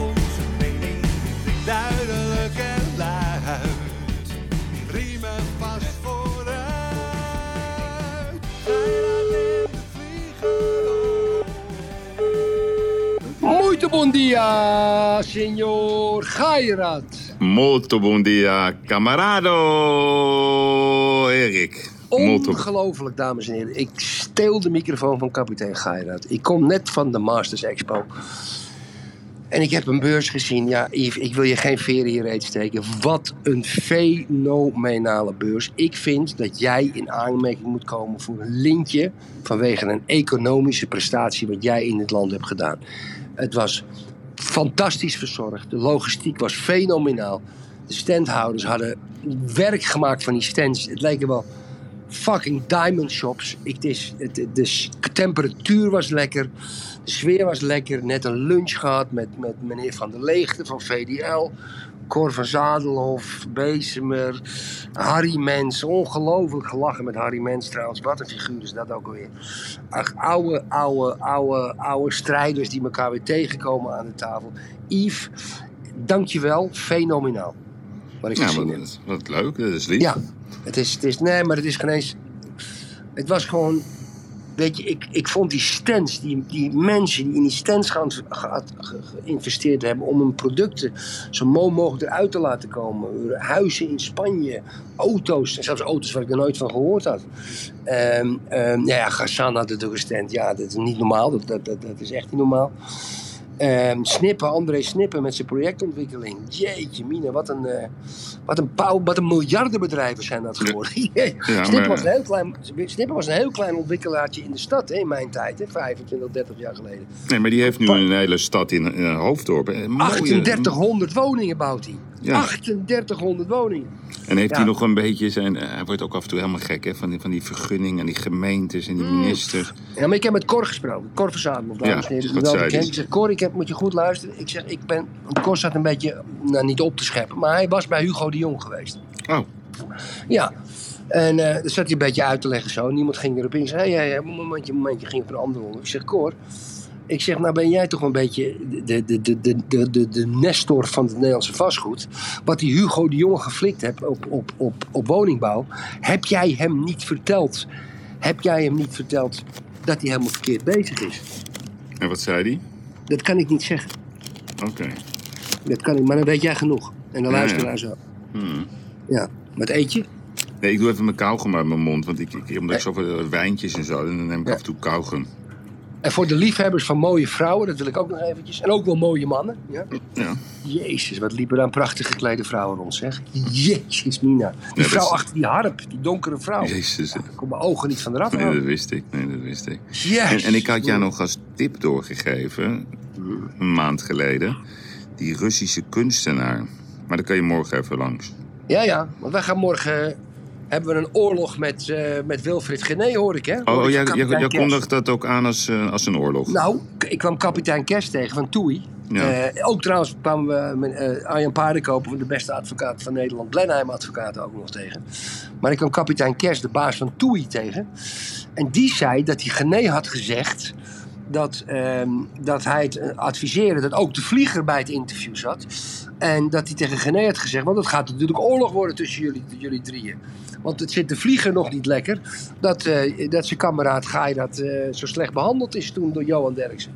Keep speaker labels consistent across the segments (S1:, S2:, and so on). S1: Onze mening, duidelijk en luid, riemen vast vooruit. Vrijdag in de
S2: Muito bom dia, senhor Gairat.
S3: Molto bom dia, camarado, Erik. Molto.
S2: Ongelooflijk, dames en heren. Ik steel de microfoon van kapitein Gairat. Ik kom net van de Masters Expo. En ik heb een beurs gezien. Ja, Yves, ik wil je geen veren hier steken. Wat een fenomenale beurs. Ik vind dat jij in aanmerking moet komen voor een lintje... vanwege een economische prestatie wat jij in dit land hebt gedaan. Het was fantastisch verzorgd. De logistiek was fenomenaal. De standhouders hadden werk gemaakt van die stands. Het leken wel fucking diamond shops. Het is, het, het- de s- temperatuur was lekker. De sfeer was lekker. Net een lunch gehad met, met meneer Van der Leegte van VDL. Cor van Zadelhof, Bezemer, Harry Mens. Ongelooflijk gelachen met Harry Mens trouwens. Wat een figuur is dat ook alweer. Ach, oude, oude, oude, oude strijders die elkaar weer tegenkomen aan de tafel. Yves, dankjewel. Fenomenaal. Wat ik
S3: Ja,
S2: gezien
S3: maar
S2: heb.
S3: dat is, wat leuk, dat is lief.
S2: Ja, het is, het is, nee, maar het is geen eens. Het was gewoon. Weet je, ik, ik vond die stands, die, die mensen die in die stands gaan, ge- ge- geïnvesteerd hebben om hun producten zo mooi mogelijk eruit te laten komen. Huizen in Spanje, auto's, en zelfs auto's waar ik er nooit van gehoord had. Ehm ehm, nou ja, Gassan had het ook een stand. Ja, dat is niet normaal, dat, dat, dat, dat is echt niet normaal. Ehm, Snippen, André Snippen met zijn projectontwikkeling. Jeetje, Mina, wat een, eh, wat een, pauw, wat een miljardenbedrijven zijn dat geworden. Snippen,
S3: maar-
S2: was een heel klein, Snippen was een heel klein ontwikkelaartje in de stad hè, in mijn tijd, hè, 25, 30 jaar geleden.
S3: Nee, maar die heeft nu een hele stad in, in een hoofddorp. Een mooie-
S2: 3800 woningen bouwt hij.
S3: Ja.
S2: 3800 woningen.
S3: En heeft hij
S2: Ja.
S3: nog een beetje zijn... eh, Hij wordt ook af en toe helemaal gek, hè? Van die, van die vergunning en die gemeentes en die
S2: Mm.
S3: ministers.
S2: Ja, maar ik heb met Cor gesproken. Cor Verzadelof, dames
S3: Ja,
S2: en heren.
S3: wat
S2: wel
S3: zei
S2: bekend.
S3: die?
S2: Ik zeg, Cor, ik heb, moet je goed luisteren. Ik zeg, ik ben... Want Cor zat een beetje, nou niet op te scheppen, maar hij was bij Hugo de Jong geweest.
S3: Oh,
S2: Ja. En eh dat zat hij een beetje uit te leggen zo. Niemand ging erop in. Ik zei, hey, hey, hey, momentje, momentje. Ging op een ander onder. Ik zeg, Cor... Ik zeg, nou ben jij toch een beetje de, de, de, de, de, de, de nestor van het Nederlandse vastgoed. Wat die Hugo de Jong geflikt hebt op, op, op, op woningbouw. Heb jij hem niet verteld? Heb jij hem niet verteld dat hij helemaal verkeerd bezig is?
S3: en wat zei hij?
S2: Dat kan ik niet zeggen.
S3: Oké.
S2: Dat kan ik, maar dan weet jij genoeg. En dan
S3: Ja, Hmm.
S2: luisteraar zo. Ja, wat eet je?
S3: Nee, ik doe even mijn kauwgom uit mijn mond. Want ik, ik, omdat ik zoveel eh, wijntjes en zo... dan neem ik af en toe kauwgom.
S2: En voor de liefhebbers van mooie vrouwen, dat wil ik ook nog eventjes. En ook wel mooie mannen. Ja?
S3: Ja.
S2: Jezus, wat liepen daar een prachtig geklede vrouwen rond, zeg. Jezus, Mina. Die
S3: dat
S2: vrouw
S3: is-
S2: achter die harp, die donkere vrouw.
S3: Jezus.
S2: Ik kon mijn ogen niet van de rat
S3: Nee, dat
S2: houden.
S3: wist ik. Nee, dat wist ik.
S2: Yes.
S3: Eh, En, en ik had jou nog als tip doorgegeven, een maand geleden, die Russische kunstenaar. Maar dan kan je morgen even langs.
S2: Ja, ja, want wij gaan morgen... eh, Hebben we een oorlog met, eh, met Wilfried Gené, hoor ik, hè?
S3: Oh,
S2: Hoor ik
S3: jij,
S2: van
S3: jij,
S2: kapitein
S3: jij
S2: Kerst.
S3: kondigt dat ook aan als, eh, als een oorlog.
S2: Nou, k- ik kwam kapitein Kerst tegen van Toei.
S3: Ja.
S2: Eh, ook trouwens kwamen we met, eh, Arjan Paardenkoper, de beste advocaat van Nederland, Blenheim advocaat ook nog tegen. Maar ik kwam kapitein Kerst, de baas van Toei, tegen. En die zei dat hij Gené had gezegd dat, ehm, dat hij het eh, adviseerde dat ook de vlieger bij het interview zat. En dat hij tegen Gené had gezegd, want het gaat natuurlijk oorlog worden tussen jullie, jullie drieën. Want het zit de vlieger nog niet lekker. Dat, eh, dat zijn kameraad Gaai dat eh, zo slecht behandeld is toen door Johan Derksen.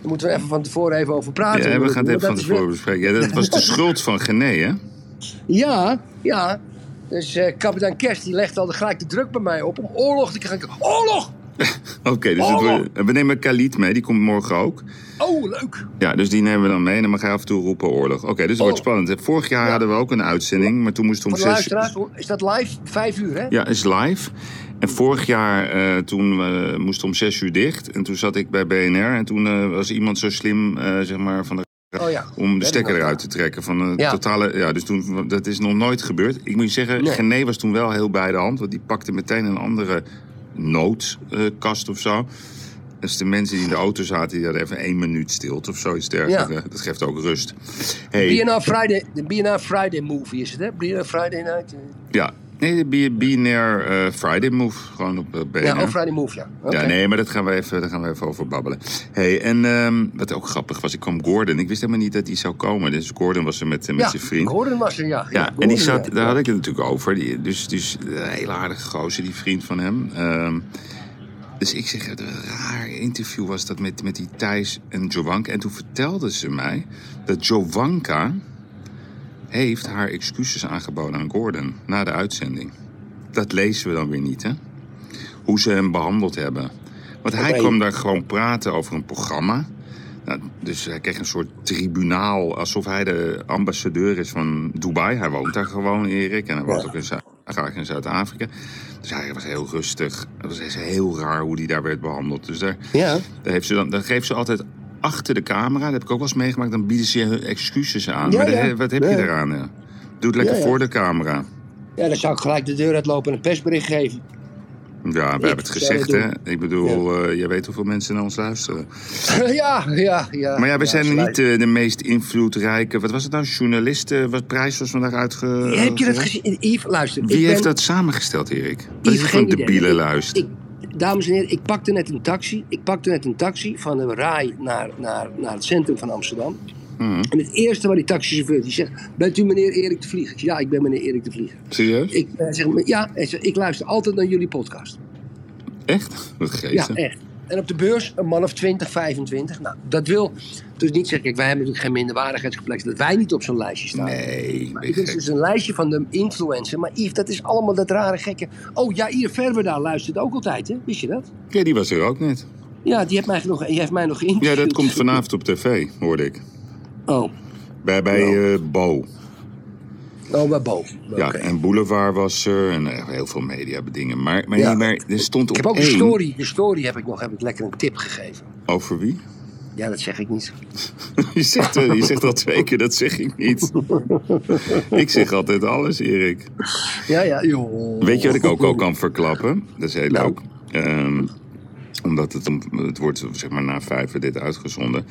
S2: Daar moeten we even van tevoren even over praten.
S3: ja, we gaan het even
S2: Want
S3: van
S2: dat is weer-
S3: tevoren bespreken. Ja, dat was de schuld van Gené, hè?
S2: ja, ja. Dus eh, kapitein Kerst die legde al gelijk de druk bij mij op om oorlog te krijgen. Oorlog!
S3: Oké, dus het
S2: Oorlog!
S3: wordt- we nemen Khalid mee, die komt morgen ook.
S2: Oh, leuk!
S3: Ja, dus die nemen we dan mee en dan mag hij af en toe roepen oorlog. Oké, dus het wordt
S2: Oorlog.
S3: spannend. Vorig jaar hadden we ook een uitzending, maar toen moest om
S2: Voor Oh. de
S3: zes
S2: luisteraars, is dat live? Vijf uur, hè?
S3: Ja, is live. En vorig jaar eh, toen eh, moest om zes uur dicht. En toen zat ik bij BNR. En toen eh, was iemand zo slim, eh, zeg maar, van de
S2: Oh ja.
S3: om de
S2: Weet ik
S3: stekker
S2: nog,
S3: eruit te trekken. Van de
S2: Ja.
S3: totale, ja, dus toen, dat is nog nooit gebeurd. Ik moet je zeggen,
S2: Nee.
S3: Gené was toen wel heel bij de hand. Want die pakte meteen een andere noodkast of zo. Dus de mensen die in de auto zaten, die hadden even één minuut stilte of zoiets dergelijks.
S2: Ja.
S3: Dat geeft ook rust. Hey,
S2: BNR Friday, de BNR Friday movie is het, hè? BNR Friday night. eh.
S3: Ja, nee, de B- BNR eh, Friday Move. Gewoon op eh, BNR.
S2: Ja, oh, Friday move, ja. Oké.
S3: Ja, nee, maar dat gaan we even, daar gaan we even over babbelen. hey, en ehm, wat ook grappig was, ik kwam Gordon. Ik wist helemaal niet dat hij zou komen. Dus Gordon was er met, eh, met
S2: Ja,
S3: zijn vriend.
S2: Gordon was er, ja.
S3: Ja, en
S2: Gordon,
S3: die zat,
S2: ja.
S3: daar had ik het natuurlijk over. Die, dus, dus een hele aardige gozer, die vriend van hem. Ehm, dus ik zeg, het raar interview was dat met, met die Thijs en Jovanka. En toen vertelde ze mij dat Jovanka heeft haar excuses aangeboden aan Gordon na de uitzending. Dat lezen we dan weer niet, hè? Hoe ze hem behandeld hebben. Want hij
S2: Oké.
S3: kwam daar gewoon praten over een programma. Nou, dus hij kreeg een soort tribunaal, alsof hij de ambassadeur is van Dubai. Hij woont daar gewoon, Erik. En hij woont
S2: Ja.
S3: ook in, Zu- graag in Zuid-Afrika. Dus hij was heel rustig. Het was echt heel raar hoe hij daar werd behandeld. Dus daar,
S2: Ja.
S3: daar, heeft ze dan, daar geeft ze altijd achter de camera, dat heb ik ook wel eens meegemaakt, dan bieden ze je excuses aan.
S2: Ja,
S3: maar daar-
S2: ja.
S3: wat heb
S2: Ja.
S3: je eraan? hè? Doe het lekker
S2: Ja, ja.
S3: voor de camera.
S2: ja, dan zou ik gelijk de deur uitlopen en een persbericht geven.
S3: Ja, we hebben het
S2: zou
S3: gezegd,
S2: het
S3: hè? Ik bedoel, eh, jij weet hoeveel mensen naar ons luisteren.
S2: ja, ja, ja.
S3: Maar ja, we zijn
S2: sluit.
S3: niet eh, de meest invloedrijke. Wat was het nou? Journalisten? Wat prijs was vandaag uitge.
S2: Heb je dat
S3: eh,
S2: gezien? Yves, luister. ik
S3: Wie
S2: ben-
S3: heeft dat samengesteld, Erik? Dat
S2: Yves,
S3: is gewoon
S2: geen idee.
S3: debiele
S2: Ik-
S3: luister.
S2: Ik, dames en heren, ik pakte net een taxi. Ik pakte net een taxi van de RAI naar, naar, naar het centrum van Amsterdam.
S3: Mhm.
S2: En het eerste waar die taxichauffeur die zegt: Bent u meneer Erik de Vlieger? Ik zeg, Ja, ik ben meneer Erik de Vlieger.
S3: Serieus?
S2: Ik eh, zeg: Ja, hij zegt, ik luister altijd naar jullie podcast.
S3: Echt? Wat
S2: Ja,
S3: geesten.
S2: echt. En op de beurs een man of 20, 25. Nou, dat wil dus niet zeggen, kijk, wij hebben natuurlijk geen minderwaardigheidscomplex, dat wij niet op zo'n lijstje staan.
S3: nee, ben je
S2: Dit is
S3: gek.
S2: dus een lijstje van de influencer. Maar Yves, dat is allemaal dat rare gekke. Oh, ja, hier Verwerda luistert ook altijd, hè? Wist je dat?
S3: Ja, die was er ook net.
S2: Ja, die heeft mij nog, die heeft mij nog
S3: Ja,
S2: geïnterviewd.
S3: dat komt vanavond op tv, hoorde ik.
S2: Oh,
S3: Bij, bij
S2: Nou.
S3: eh, Bo.
S2: oh maar boven.
S3: Ja,
S2: Oké.
S3: en Boulevard was er. En eh, heel veel mediabedingen. Maar, maar,
S2: Ja.
S3: nee, maar er stond
S2: Ik
S3: op
S2: heb ook een
S3: één...
S2: story. De story heb ik nog heb ik lekker een tip gegeven.
S3: Over wie?
S2: Ja, dat zeg ik niet.
S3: Je zegt, eh, je zegt al twee keer, dat zeg ik niet. ik zeg altijd alles, Erik.
S2: Ja, ja, joh.
S3: Weet je wat ik ook al kan verklappen? Dat is heel
S2: Nou.
S3: leuk. Ehm, omdat het, om- het wordt zeg maar na vijf werd dit uitgezonden.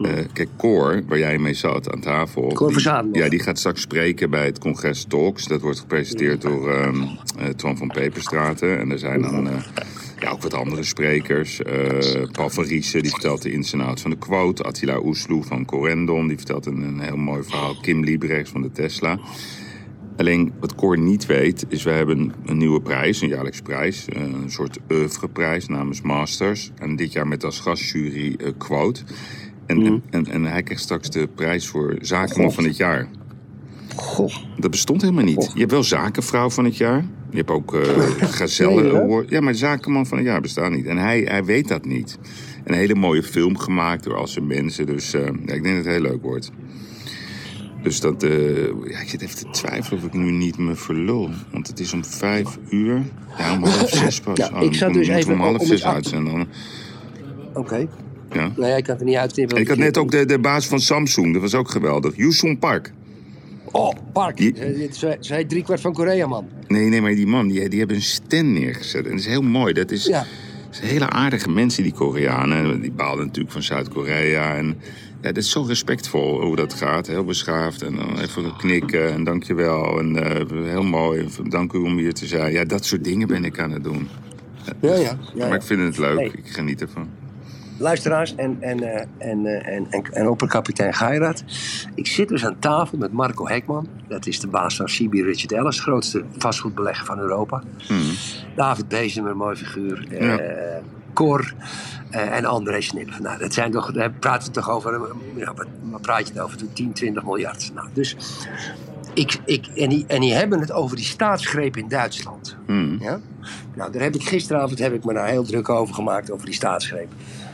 S3: Eh, kijk, Cor, waar jij mee zat aan tafel.
S2: Hm. Cor
S3: die-
S2: Verzadenhoff.
S3: Ja, die gaat straks spreken bij het congres Talks. Dat wordt gepresenteerd door ehm eh, Twan van Peperstraten. En er zijn dan eh, ja, ook wat andere sprekers. Eh Paul van Riesen, die vertelt de ins en outs van de quote. Attila Oesloe van Corendon, die vertelt een, een heel mooi verhaal. Kim Liebrechts van de Tesla. Alleen wat Cor niet weet, is we hebben een nieuwe prijs, een jaarlijks prijs. eh, Een soort oeuvreprijs namens Masters. En dit jaar met als gastjury eh, Quote. En, en, en, en hij krijgt straks de prijs voor zakenman van het jaar.
S2: Goh.
S3: Dat bestond helemaal
S2: Oh.
S3: niet. Je hebt wel zakenvrouw van het jaar. Je hebt ook eh gazelle
S2: Nee, hè?
S3: award. Ja, maar zakenman van het jaar bestaat niet. En hij, hij weet dat niet. Een hele mooie film gemaakt door al zijn mensen. Dus eh, ja, ik denk dat het heel leuk wordt. Dus dat... eh, ja, ik zit even te twijfelen of ik nu niet me verlul. Want het is om vijf uur. Ja, om half zes pas.
S2: Ja,
S3: Oh,
S2: ik zat
S3: dan
S2: dus
S3: moeten we
S2: even
S3: om half
S2: om
S3: zes
S2: iets af te-
S3: uitzenden. dan.
S2: Oké.
S3: Ja.
S2: Nou ja, ik kan het er niet uittippen. want
S3: En ik had
S2: ik-
S3: net ook de, de baas van Samsung. Dat was ook geweldig. Yoosung Park.
S2: Oh, Park.
S3: Die-
S2: Eh, dit Zij zij driekwart van Korea, man.
S3: Nee, nee, maar die man, die, die hebben een stand neergezet. En dat is heel mooi. Dat is,
S2: Ja.
S3: dat zijn hele aardige mensen, die Koreanen. Die baalden natuurlijk van Zuid-Korea. En ja, dat is zo respectvol hoe dat gaat. Heel beschaafd. En dan even knikken en dankjewel. En eh, heel mooi. En dank u om hier te zijn. Ja, dat soort dingen ben ik aan het doen.
S2: Ja, ja. ja,
S3: Maar
S2: ja.
S3: ik vind het leuk.
S2: Nee.
S3: Ik geniet ervan.
S2: Luisteraars en, en, eh, en, eh, en, en, en opperkapitein Geirat. Ik zit dus aan tafel met Marco Hekman. Dat is de baas van CB Richard Ellis, grootste vastgoedbelegger van Europa. David Bezemer, mooi figuur. eh,
S3: Ja.
S2: Cor eh, en André Snip. Nou, dat zijn toch, daar praten we toch over, eh, ja, wat, wat praat je het over? Toen 10, 20 miljard. Nou, dus ik, ik, en, die, en die hebben het over die staatsgreep in Duitsland. Ja? Nou, daar heb ik gisteravond heb ik me nou heel druk over gemaakt, over die staatsgreep.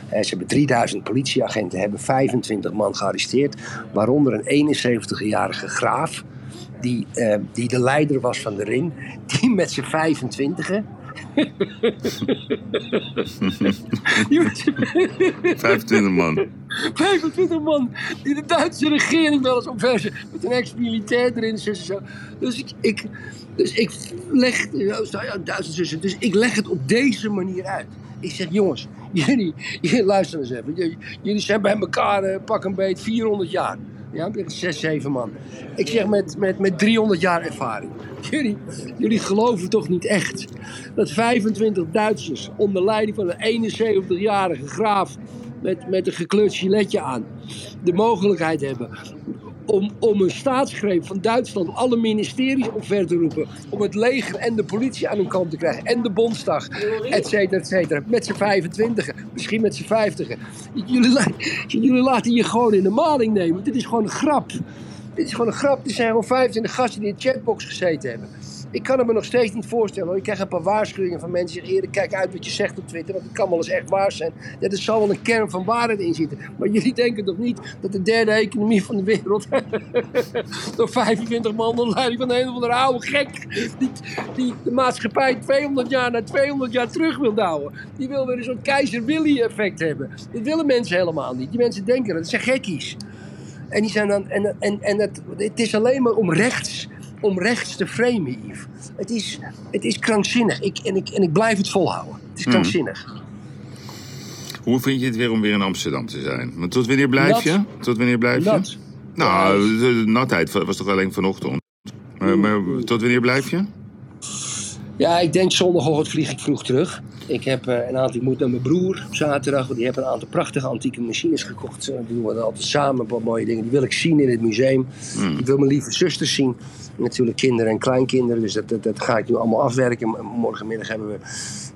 S2: Eh, ze hebben 3000 politieagenten, hebben 25 man gearresteerd, waaronder een 71-jarige graaf, die, eh, die de leider was van de ring, die met zijn 25
S3: 25 man.
S2: 25 man die de Duitse regering wel eens omverzen. Met een ex-militair erin zit en zo. Dus ik, ik, dus ik leg, ja, nou ja, Duitsers tussen. Dus ik leg het op deze manier uit. Ik zeg, jongens, jullie, jullie luisteren eens even. Jullie, jullie zijn bij elkaar eh, pak een beet 400 jaar. Ja, met zes, zeven man. Ik zeg met, met, met 300 jaar ervaring. Jullie, jullie geloven toch niet echt dat 25 Duitsers onder leiding van een 71-jarige graaf met, met een gekleurd giletje aan de mogelijkheid hebben om, om een staatsgreep van Duitsland alle ministeries omver te roepen. Om het leger en de politie aan hun kant te krijgen. En de Bondsdag, et cetera, et cetera. Met z'n 25, misschien met z'n 50. Jullie, la- jullie laten je gewoon in de maling nemen. Dit is gewoon een grap. Dit is gewoon een grap. Er zijn gewoon 25 gasten die in de chatbox gezeten hebben. Ik kan het me nog steeds niet voorstellen. hoor. Ik krijg een paar waarschuwingen van mensen die zeggen... "Erik, kijk uit wat je zegt op Twitter, want het kan wel eens echt waar zijn. Ja, er zal wel een kern van waarheid in zitten. Maar jullie denken toch niet dat de derde economie van de wereld... door 25 man onder leiding van een of andere oude gek... Die, die de maatschappij 200 jaar naar 200 jaar terug wil douwen. Die wil weer een soort keizer Willy effect hebben. Dat willen mensen helemaal niet. Die mensen denken dat. Dat zijn gekkies. En, die zijn dan, en, en, en het, het is alleen maar om rechts, om rechts te framen, Yves. Het is, het is krankzinnig. Ik, en, ik, en ik blijf het volhouden. Het is krankzinnig.
S3: Hoe vind je het weer om weer in Amsterdam te zijn? Want tot wanneer blijf
S2: Nat.
S3: je? Tot wanneer blijf
S2: Nat.
S3: je? Nou, de de natheid wa- was toch alleen vanochtend?
S2: Mm.
S3: Maar, maar tot wanneer blijf je?
S2: Ja, ik denk zondagochtend vlieg ik vroeg terug. Ik, heb, eh, een aantal, ik moet naar mijn broer op zaterdag, want die heeft een aantal prachtige antieke machines gekocht. Eh, Die doen we dan altijd samen, wat mooie dingen. Die wil ik zien in het museum. Ik wil mijn lieve zusters zien. En Natuurlijk kinderen en kleinkinderen, dus dat, dat, dat ga ik nu allemaal afwerken. M- Morgenmiddag hebben we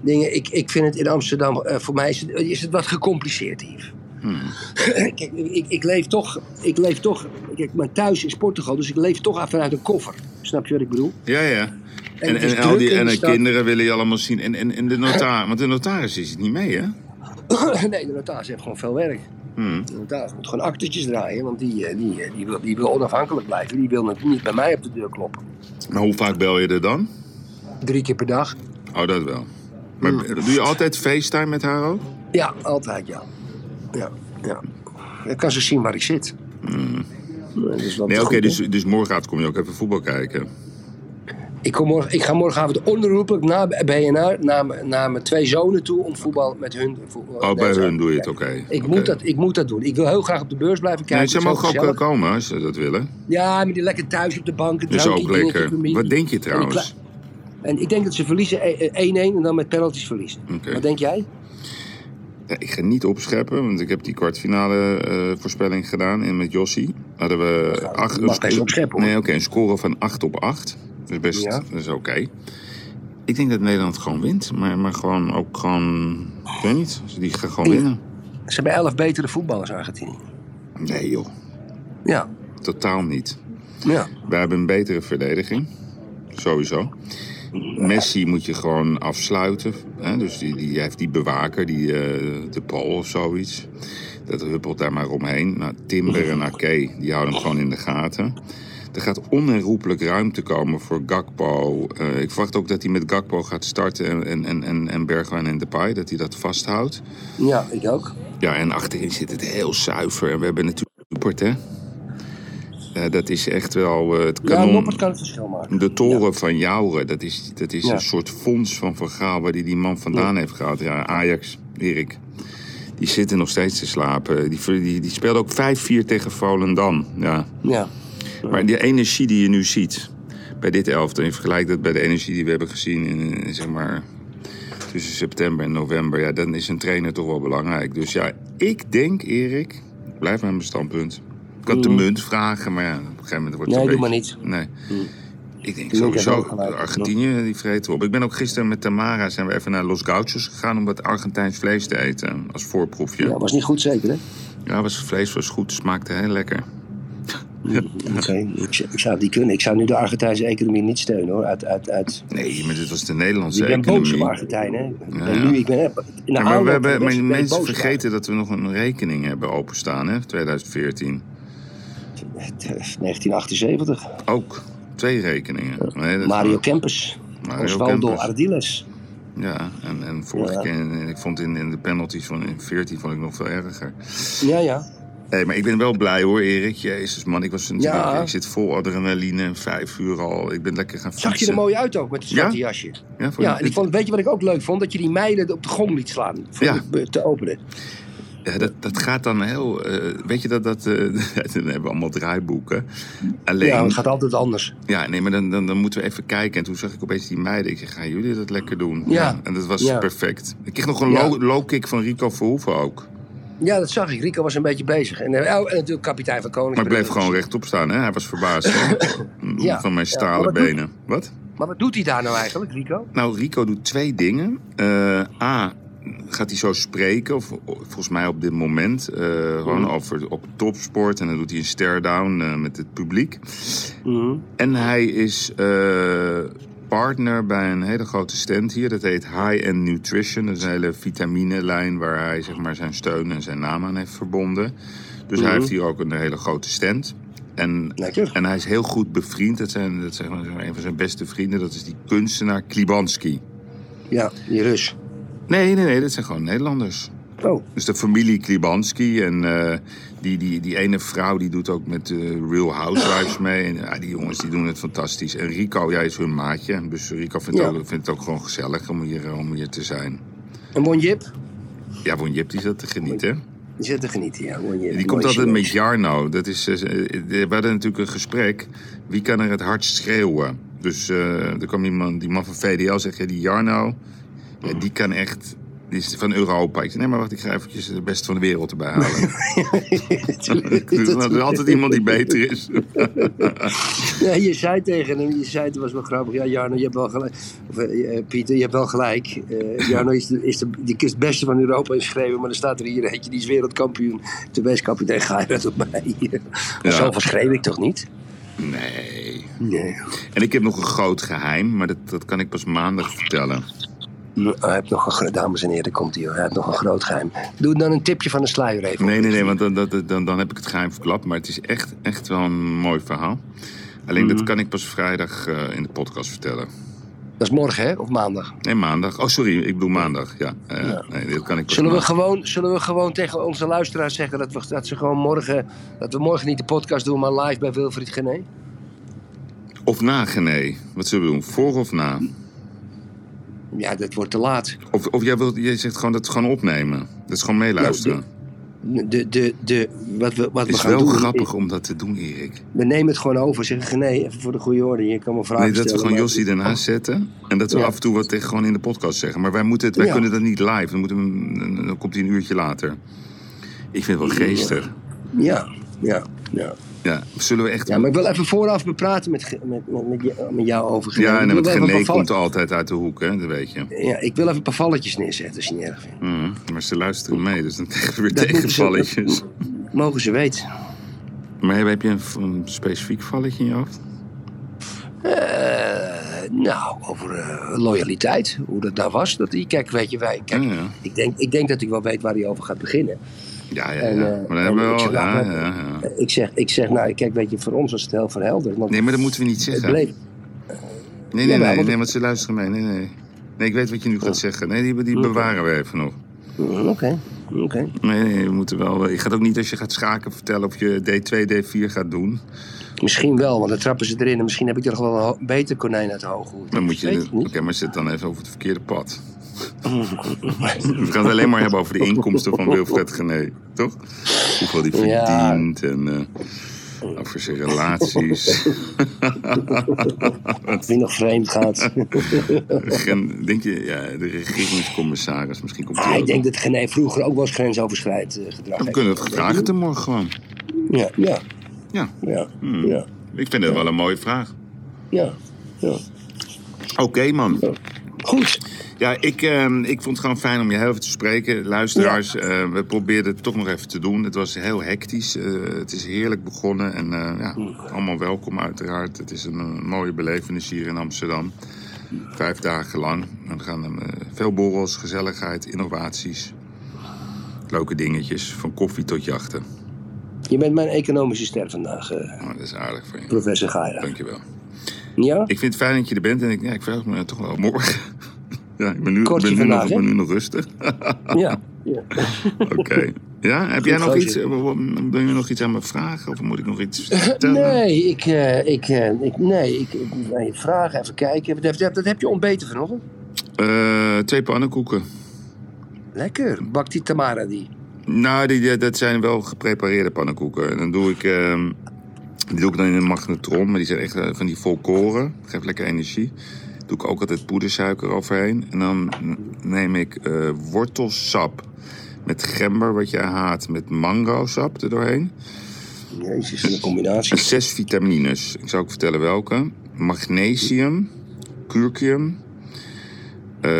S2: dingen. Ik, ik vind het in Amsterdam, eh, voor mij is het, is het wat gecompliceerd hier. Kijk, ik, ik leef toch, ik leef toch, kijk, mijn thuis is Portugal, dus ik leef toch vanuit een koffer. Snap je wat ik bedoel?
S3: Ja, ja. En,
S2: het is
S3: en, al
S2: druk
S3: die
S2: in de
S3: en de
S2: stad.
S3: kinderen willen je allemaal zien. En, en, en de notaris, want de notaris is het niet mee, hè?
S2: nee, de notaris heeft gewoon veel werk.
S3: Hmm.
S2: De notaris moet gewoon actertjes draaien, want die, eh, die, eh, die, wil, die wil onafhankelijk blijven. Die wil natuurlijk niet bij mij op de deur kloppen.
S3: Maar hoe vaak bel je er dan?
S2: Drie keer per dag?
S3: Oh, dat wel. Maar doe je altijd FaceTime met haar ook?
S2: Ja, altijd ja. Ja, ja. Dan kan ze zien waar ik zit. Nee, dus dat is
S3: Hmm. Nee, oké,
S2: goed,
S3: dus,
S2: hè?
S3: dus morgenavond kom je ook even voetbal kijken. Oh,
S2: ik, kom morgen, ik ga morgenavond onroepelijk na BNR naar, m- naar mijn twee zonen toe om voetbal met hun... vo-
S3: Oh, bij
S2: nee,
S3: hun doe je het,
S2: kijk.
S3: oké.
S2: Ik,
S3: Oké.
S2: moet dat, ik moet dat doen. Ik wil heel graag op de beurs blijven kijken.
S3: Nee, ze
S2: Het is
S3: mogen ook
S2: heel gezellig.
S3: eh, komen als ze dat willen.
S2: Ja, maar die lekker thuis op de bank. een
S3: Dus
S2: drankje,
S3: ook
S2: dingetje,
S3: lekker.
S2: familie. Oh,
S3: Wat denk
S2: En
S3: je
S2: een
S3: trouwens?
S2: kle- En ik denk dat ze verliezen eh, eh, 1-1 en dan met penalties verliezen.
S3: Oké.
S2: Wat denk jij?
S3: Ja, ik ga niet opscheppen, want ik heb die kwartfinale eh, voorspelling gedaan. En met Jossi hadden we acht...
S2: mag best
S3: sco-
S2: opscheppen, hoor.
S3: Nee, oké, een score van 8 op 8. Dat is best
S2: Ja.
S3: dat is oké. Ik denk dat Nederland gewoon wint. Maar, maar gewoon ook gewoon... Ik weet niet, ze die gaan gewoon
S2: Ja.
S3: winnen.
S2: Ze hebben 11 betere voetballers Argentinië.
S3: Nee joh,
S2: Ja.
S3: totaal niet.
S2: ja.
S3: Wij hebben een betere verdediging. Sowieso. Messi moet je gewoon afsluiten. Hè? Dus die, die heeft die bewaker, die, eh, de Paul of zoiets. Dat huppelt daar maar omheen. Nou, Timber en Ake, die houden hem gewoon in de gaten. Er gaat onherroepelijk ruimte komen voor Gakpo. Eh, ik verwacht ook dat hij met Gakpo gaat starten en- en, en, en, en Bergwijn en Depay. Dat hij dat vasthoudt.
S2: Ja, ik ook.
S3: Ja, en achterin zit het heel zuiver. En we hebben natuurlijk Noppert, hè. Eh, dat is echt wel eh, het
S2: Ja,
S3: kanon.
S2: Noppert kan het verschil maken.
S3: De toren van Jouren, dat is, dat is
S2: Ja.
S3: een soort fonds van Van Gaal waar die, die man vandaan heeft gehaald. Ja, Ajax, Erik. Die zitten nog steeds te slapen. Die, die, die speelde ook 5-4 tegen Volendam. Ja.
S2: Ja.
S3: Maar die energie die je nu ziet bij dit elftal... in vergelijk dat bij de energie die we hebben gezien in, in, zeg maar, tussen september en november... Ja, dan is een trainer toch wel belangrijk. Dus ja, ik denk, Erik, ik blijf bij mijn standpunt. Ik had de munt vragen, maar ja, op een gegeven moment wordt het
S2: Mhm. Nee,
S3: een
S2: doe
S3: beetje-
S2: maar Mhm.
S3: Nee. Ik denk
S2: Doe ik even
S3: sowieso,
S2: ook gelijk.
S3: Argentinië die vreet erop. Ik ben ook gisteren met Tamara zijn we even naar Los Gauchos gegaan... om wat Argentijns vlees te eten, als voorproefje.
S2: Ja, was niet goed zeker, hè?
S3: Ja, was, vlees was goed, smaakte heel lekker.
S2: Oké, ik, zou- ik zou die kunnen. Ik zou nu de Argentijnse economie niet steunen, hoor. Uit, uit, uit...
S3: Nee, maar dit was de Nederlandse
S2: Ik ben
S3: economie.
S2: boos op Argentijn, hè? Ik ben
S3: Ja.
S2: Nu, ik ben, hè, in de
S3: Ja, maar
S2: aanloop
S3: we
S2: van de
S3: hebben,
S2: wedstrijd
S3: maar
S2: ben ik
S3: mensen
S2: boos op
S3: vergeten dat we nog een rekening hebben openstaan, hè? 2014.
S2: Argentijn. 1978.
S3: Ook. Twee rekeningen. Nee, dat-
S2: Mario Kempers.
S3: Mario
S2: Osvaldo
S3: Kempers.
S2: Ardiles.
S3: Ja, en, en vorige
S2: Ja.
S3: keer, en ik vond in, in de penalties van in 14 vond ik nog veel erger.
S2: Ja, ja.
S3: Hey, maar ik ben wel blij hoor, Erik. Jezus man, ik, was een,
S2: Ja.
S3: ik zit vol adrenaline en vijf uur al. Ik ben lekker gaan fietsen.
S2: Zag je er mooi uit ook met het
S3: Ja?
S2: zwarte jasje?
S3: Ja, voor-
S2: Ja, en ik vond, weet je wat ik ook leuk vond? Dat je die meiden op de gong liet slaan. Voor
S3: Ja.
S2: de- te openen.
S3: Ja, dat, dat gaat dan heel... eh, weet je dat dat... eh, dan hebben we allemaal draaiboeken. Alleen...
S2: Ja,
S3: Ja,
S2: het gaat altijd anders.
S3: nee, maar dan, dan, dan moeten we even kijken. En toen zag ik opeens die meiden. Ik zeg, gaan jullie dat lekker doen?
S2: Ja.
S3: En dat was
S2: Ja.
S3: perfect. Ik kreeg nog een
S2: Ja.
S3: low, low kick van Rico Verhoeven ook.
S2: Ja, dat zag ik. Rico was een beetje bezig. En, eh, oh, en natuurlijk kapitein van Koning.
S3: Maar ik bleef gewoon rechtop staan, hè? Hij was verbaasd, hè?
S2: Ja,
S3: Van mijn
S2: ja.
S3: stalen
S2: Maar wat doet-
S3: benen. Wat?
S2: Maar wat doet hij daar nou eigenlijk, Rico?
S3: Nou, Rico doet twee dingen. Eh, A, gaat hij zo spreken, of of volgens mij op dit moment, eh,
S2: Mhm.
S3: gewoon over op topsport. En dan doet hij een stare-down eh, met het publiek. En hij is eh, partner bij een hele grote stand hier. Dat heet High End Nutrition. Dat is een hele vitaminelijn waar hij zeg maar, zijn steun en zijn naam aan heeft verbonden. Dus hij heeft hier ook een hele grote stand. En,
S2: Lekker.
S3: en hij is heel goed bevriend. Dat, zijn, dat zijn een van zijn beste vrienden. Dat is die kunstenaar Klibanski.
S2: Ja, die Rus.
S3: Nee, nee, nee. Dat zijn gewoon Nederlanders.
S2: Oh,
S3: Dus de familie Klibanski en eh, die, die, die ene vrouw die doet ook met eh, Real Housewives mee. En ja, die jongens die doen het fantastisch. En Rico, jij is hun maatje. Dus Rico vindt,
S2: Ja.
S3: ook, vindt het ook gewoon gezellig om hier, eh, om hier te zijn.
S2: en Monjip?
S3: Ja, Won Jip die zat te genieten.
S2: Die zit te genieten, ja. Monjip.
S3: Die komt altijd met Jarno. Dat is, eh, we hadden natuurlijk een gesprek. Wie kan er het hardst schreeuwen? Dus eh er kwam iemand, die man van VDL, zegt ja, die Jarno, ja, die kan echt... Die is van Europa. Ik zei, nee, maar wacht, ik ga eventjes de beste van de wereld erbij halen. Er is
S2: dat
S3: altijd iemand die beter is.
S2: Ja, je zei tegen hem, je zei, het was wel grappig. Ja, Jarno, je hebt wel gelijk. Of eh, eh, Pieter, je hebt wel gelijk. Eh, Jarno is, de, is de, die is het beste van Europa in schreeuwen, maar dan staat er hier eentje, die is wereldkampioen. Toen wees kapitein Geirat op mij.
S3: Ja.
S2: Ja. Zo schreeuw ik toch niet?
S3: Nee.
S2: Nee.
S3: En ik heb nog een groot geheim, maar dat, dat kan ik pas maandag vertellen.
S2: Nou, Hij heeft nog een, gro- dames en heren, komt hij hoor. Hij heeft nog een groot geheim. Doe dan een tipje van de sluier even.
S3: Nee, nee, nee, want dan, dan, dan, dan heb ik het geheim verklapt. Maar het is echt, echt wel een mooi verhaal. Alleen
S2: Mhm.
S3: dat kan ik pas vrijdag eh, in de podcast vertellen.
S2: Dat is morgen, hè? Of maandag.
S3: Nee, maandag. Oh, sorry, ik bedoel maandag. Ja, eh, Nee, dit kan ik pas
S2: Zullen we,
S3: maandag.
S2: gewoon, zullen we gewoon tegen onze luisteraars zeggen dat we, dat ze gewoon morgen, dat we morgen niet de podcast doen, maar live bij Wilfried Gené?
S3: Of na, Gené. Wat zullen we doen? Voor of na?
S2: Ja, dat wordt te laat.
S3: Of, of jij, wilt, jij zegt gewoon dat is gewoon opnemen. Dat is gewoon meeluisteren.
S2: Nou, De, de, de, wat we, wat
S3: het
S2: we
S3: is
S2: gaan
S3: wel
S2: doen,
S3: grappig om dat te doen, Erik.
S2: We nemen het gewoon over. Zeggen nee, even voor de goede orde. Je kan me vragen
S3: Nee, dat we
S2: stellen,
S3: gewoon
S2: maar-
S3: Jossie daarnaast zetten. En dat we
S2: Ja.
S3: af en toe wat tegen gewoon in de podcast zeggen. Maar wij, moeten het, wij
S2: Ja.
S3: kunnen dat niet live. Dan, moeten we, dan komt hij een uurtje later. Ik vind het wel geestig.
S2: Oh, Ja, ja, ja.
S3: Ja, zullen we echt...
S2: Ja,
S3: Ja,
S2: maar ik wil even vooraf bepraten met, Ge- met, met, met, je- met jou over Gené. Ik
S3: en
S2: wil
S3: met
S2: even een
S3: Gené
S2: paar
S3: komt
S2: vallen-
S3: altijd uit de hoek, hè? Dat weet je.
S2: Ja, ik wil even een paar valletjes neerzetten, als je het niet erg vindt.
S3: Mhm. Maar ze luisteren mee, dus dan krijgen we weer
S2: Dat moeten ze-
S3: tegenvalletjes.
S2: Mogen ze weten.
S3: Maar heb- heb je een, v- een specifiek valletje in je hoofd?
S2: Eh, nou, over eh, loyaliteit, hoe dat nou was. Dat, kijk, weet je, wij, kijk,
S3: Ja, ja.
S2: ik, denk, ik denk dat ik wel weet waar hij over gaat beginnen.
S3: Ja, ja, ja.
S2: En, eh,
S3: maar dan
S2: en
S3: hebben we
S2: ik
S3: wel...
S2: zeg,
S3: Ja,
S2: nou,
S3: ja, ja.
S2: Eh, Ik, zeg, ik zeg, nou, kijk, weet je, voor ons was het heel verhelderd. Want
S3: Nee, maar dat moeten we niet
S2: het
S3: zeggen.
S2: bleef,
S3: Nee, nee,
S2: Jawel,
S3: nee,
S2: want-
S3: nee, want ze luisteren mee. Nee, nee. Nee, ik weet wat je nu gaat zeggen. Nee, die, die bewaren we even nog.
S2: Mm, Oké, oké.
S3: Nee, nee, we moeten wel. eh, Je gaat ook niet als je gaat schaken vertellen of je D2, D4 gaat doen.
S2: Misschien wel, want dan trappen ze erin. En misschien heb ik er nog wel een ho- beter konijn uit de hoge hoed.
S3: Dan moet je.
S2: Weet
S3: de-
S2: ik
S3: Oké,
S2: niet.
S3: maar zit dan even over het verkeerde pad. We gaan het alleen maar hebben over de inkomsten van Wilfred Gené, toch? Hoeveel die
S2: Ja.
S3: verdient en. eh, over zijn relaties.
S2: Wie nog vreemd gaat.
S3: Gen- Denk je, ja, de regeringscommissaris, misschien komt hij
S2: ah, ik
S3: ook.
S2: denk dat Gené vroeger ook wel eens grensoverschrijd eh, gedrag
S3: We
S2: heeft.
S3: kunnen het vragen te morgen gewoon.
S2: Ja, ja,
S3: Ja,
S2: ja,
S3: Hmm.
S2: ja,
S3: ik vind het wel een mooie vraag.
S2: ja, ja.
S3: Oké, man.
S2: Goed.
S3: Ja, ik, ehm, ik vond het gewoon fijn om je heel even te spreken. Luisteraars, eh, we probeerden het toch nog even te doen. Het was heel hectisch. eh, het is heerlijk begonnen. En eh, ja, allemaal welkom uiteraard. Het is een eh, mooie belevenis hier in Amsterdam. Vijf dagen lang. En Er gaan eh, veel borrels, gezelligheid, innovaties. Leuke dingetjes, van koffie tot jachten.
S2: Je bent mijn economische ster vandaag, eh,
S3: Nou, dat is aardig van je.
S2: professor Gaira.
S3: Dankjewel.
S2: Ja?
S3: Ik vind het fijn dat je er bent en ik, ja, ik verheug me toch wel op morgen. Ja, ik ben nu, ik
S2: Kortje
S3: ben nu, nog,
S2: vandaag,
S3: ik
S2: hè?
S3: ben nu nog rustig.
S2: Ja. Ja.
S3: Oké. Ja, heb jij nog
S2: gozer.
S3: iets? eh, Wil je nog iets aan me vragen? Of moet ik nog iets vertellen?
S2: Nee, ik, eh, ik, eh, ik, nee, ik, ik moet aan je vragen, even kijken. Dat, dat, dat heb je ontbeten vanochtend?
S3: Eh, twee pannenkoeken.
S2: Lekker, bakt die Tamara die.
S3: Nou, die, die- dat zijn wel geprepareerde pannenkoeken. En dan doe ik, ehm, die doe ik dan in een magnetron, maar die zijn echt eh, van die volkoren. Geeft lekker energie. Doe ik ook altijd poedersuiker overheen. En dan n- neem ik eh, wortelsap met gember, wat jij haat, met mango-sap erdoorheen.
S2: Jezus, wat een combinatie.
S3: En zes vitamines. Ik zal ook vertellen welke. Magnesium, curcum, eh,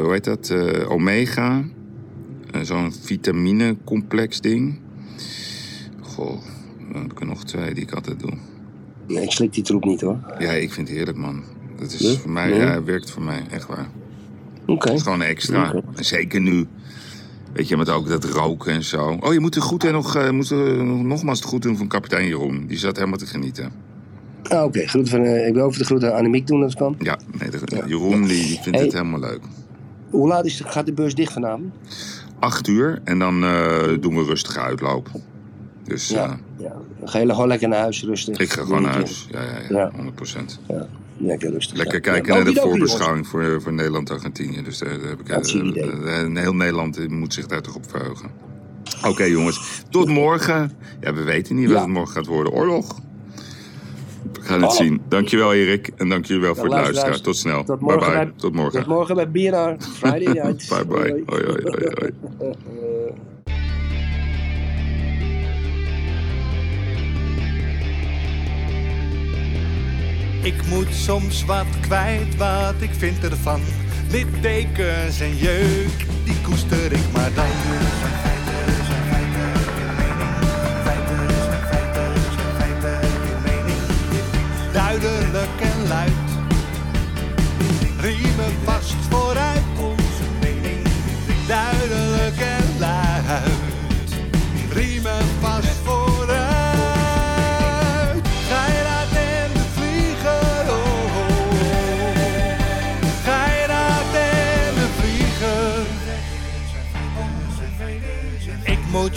S3: hoe heet dat? Eh, omega. Eh, Zo'n vitaminecomplex ding. Goh, dan heb ik er nog twee die ik altijd doe.
S2: Nee, ik slik die troep niet hoor.
S3: Ja, ik vind het heerlijk, man. Dat is
S2: Ja?
S3: voor mij,
S2: Ja?
S3: ja, het werkt voor mij, echt waar.
S2: Oké.
S3: Het is gewoon extra.
S2: Oh? Oké.
S3: En Zeker nu. Weet je, met ook dat roken en zo. Oh, je moet het goed en nog, eh, moet, eh, nogmaals het goed doen van kapitein Jeroen. Die zat helemaal te genieten.
S2: Ah, Oké, groeten van, eh, ik wil over de groeten aan Annemiek doen als het kan.
S3: Ja, nee, dat- Jeroen die, die vindt
S2: Hey.
S3: het helemaal leuk.
S2: Hoe laat is de, gaat de beurs dicht vanavond?
S3: Acht uur en dan eh, doen we rustige uitloop. Dus eh,
S2: ja. Dan ga je gewoon lekker naar huis, rustig.
S3: ik ga gewoon naar huis. Ja, ja, ja,
S2: Ja.
S3: 100%.
S2: Ja, lekker rustig.
S3: Lekker
S2: Ja.
S3: kijken
S2: Ja, Oh,
S3: naar de
S2: Doki Doki,
S3: voorbeschouwing voor, voor Nederland-Argentinië. Dus daar, daar heb ik,
S2: Absoluut
S3: eh,
S2: idee.
S3: eh, eh, heel Nederland moet zich daar toch op verheugen. Oké jongens, tot morgen. Ja, we weten niet wat
S2: Ja.
S3: het morgen gaat worden. Oorlog. We gaan het
S2: Oh.
S3: zien. Dankjewel Erik en dankjewel wel voor het
S2: luisteraars,
S3: luisteren. Tot snel.
S2: tot
S3: bye
S2: morgen
S3: bye.
S2: bij-
S3: Tot
S2: jongens.
S3: morgen.
S2: Tot morgen bij BNR. Friday night.
S3: Bye bye. Hoi hoi hoi hoi.
S1: Ik moet soms wat kwijt, wat ik vind ervan. Littekens en jeuk, die koester ik maar dan. Duidelijk en luid, riemen vast vooruit. Onze mening. Duidelijk en luid, riemen vast vooruit. Geirat en de vlieger, oh, oh. Geirat en de vlieger. Ik moet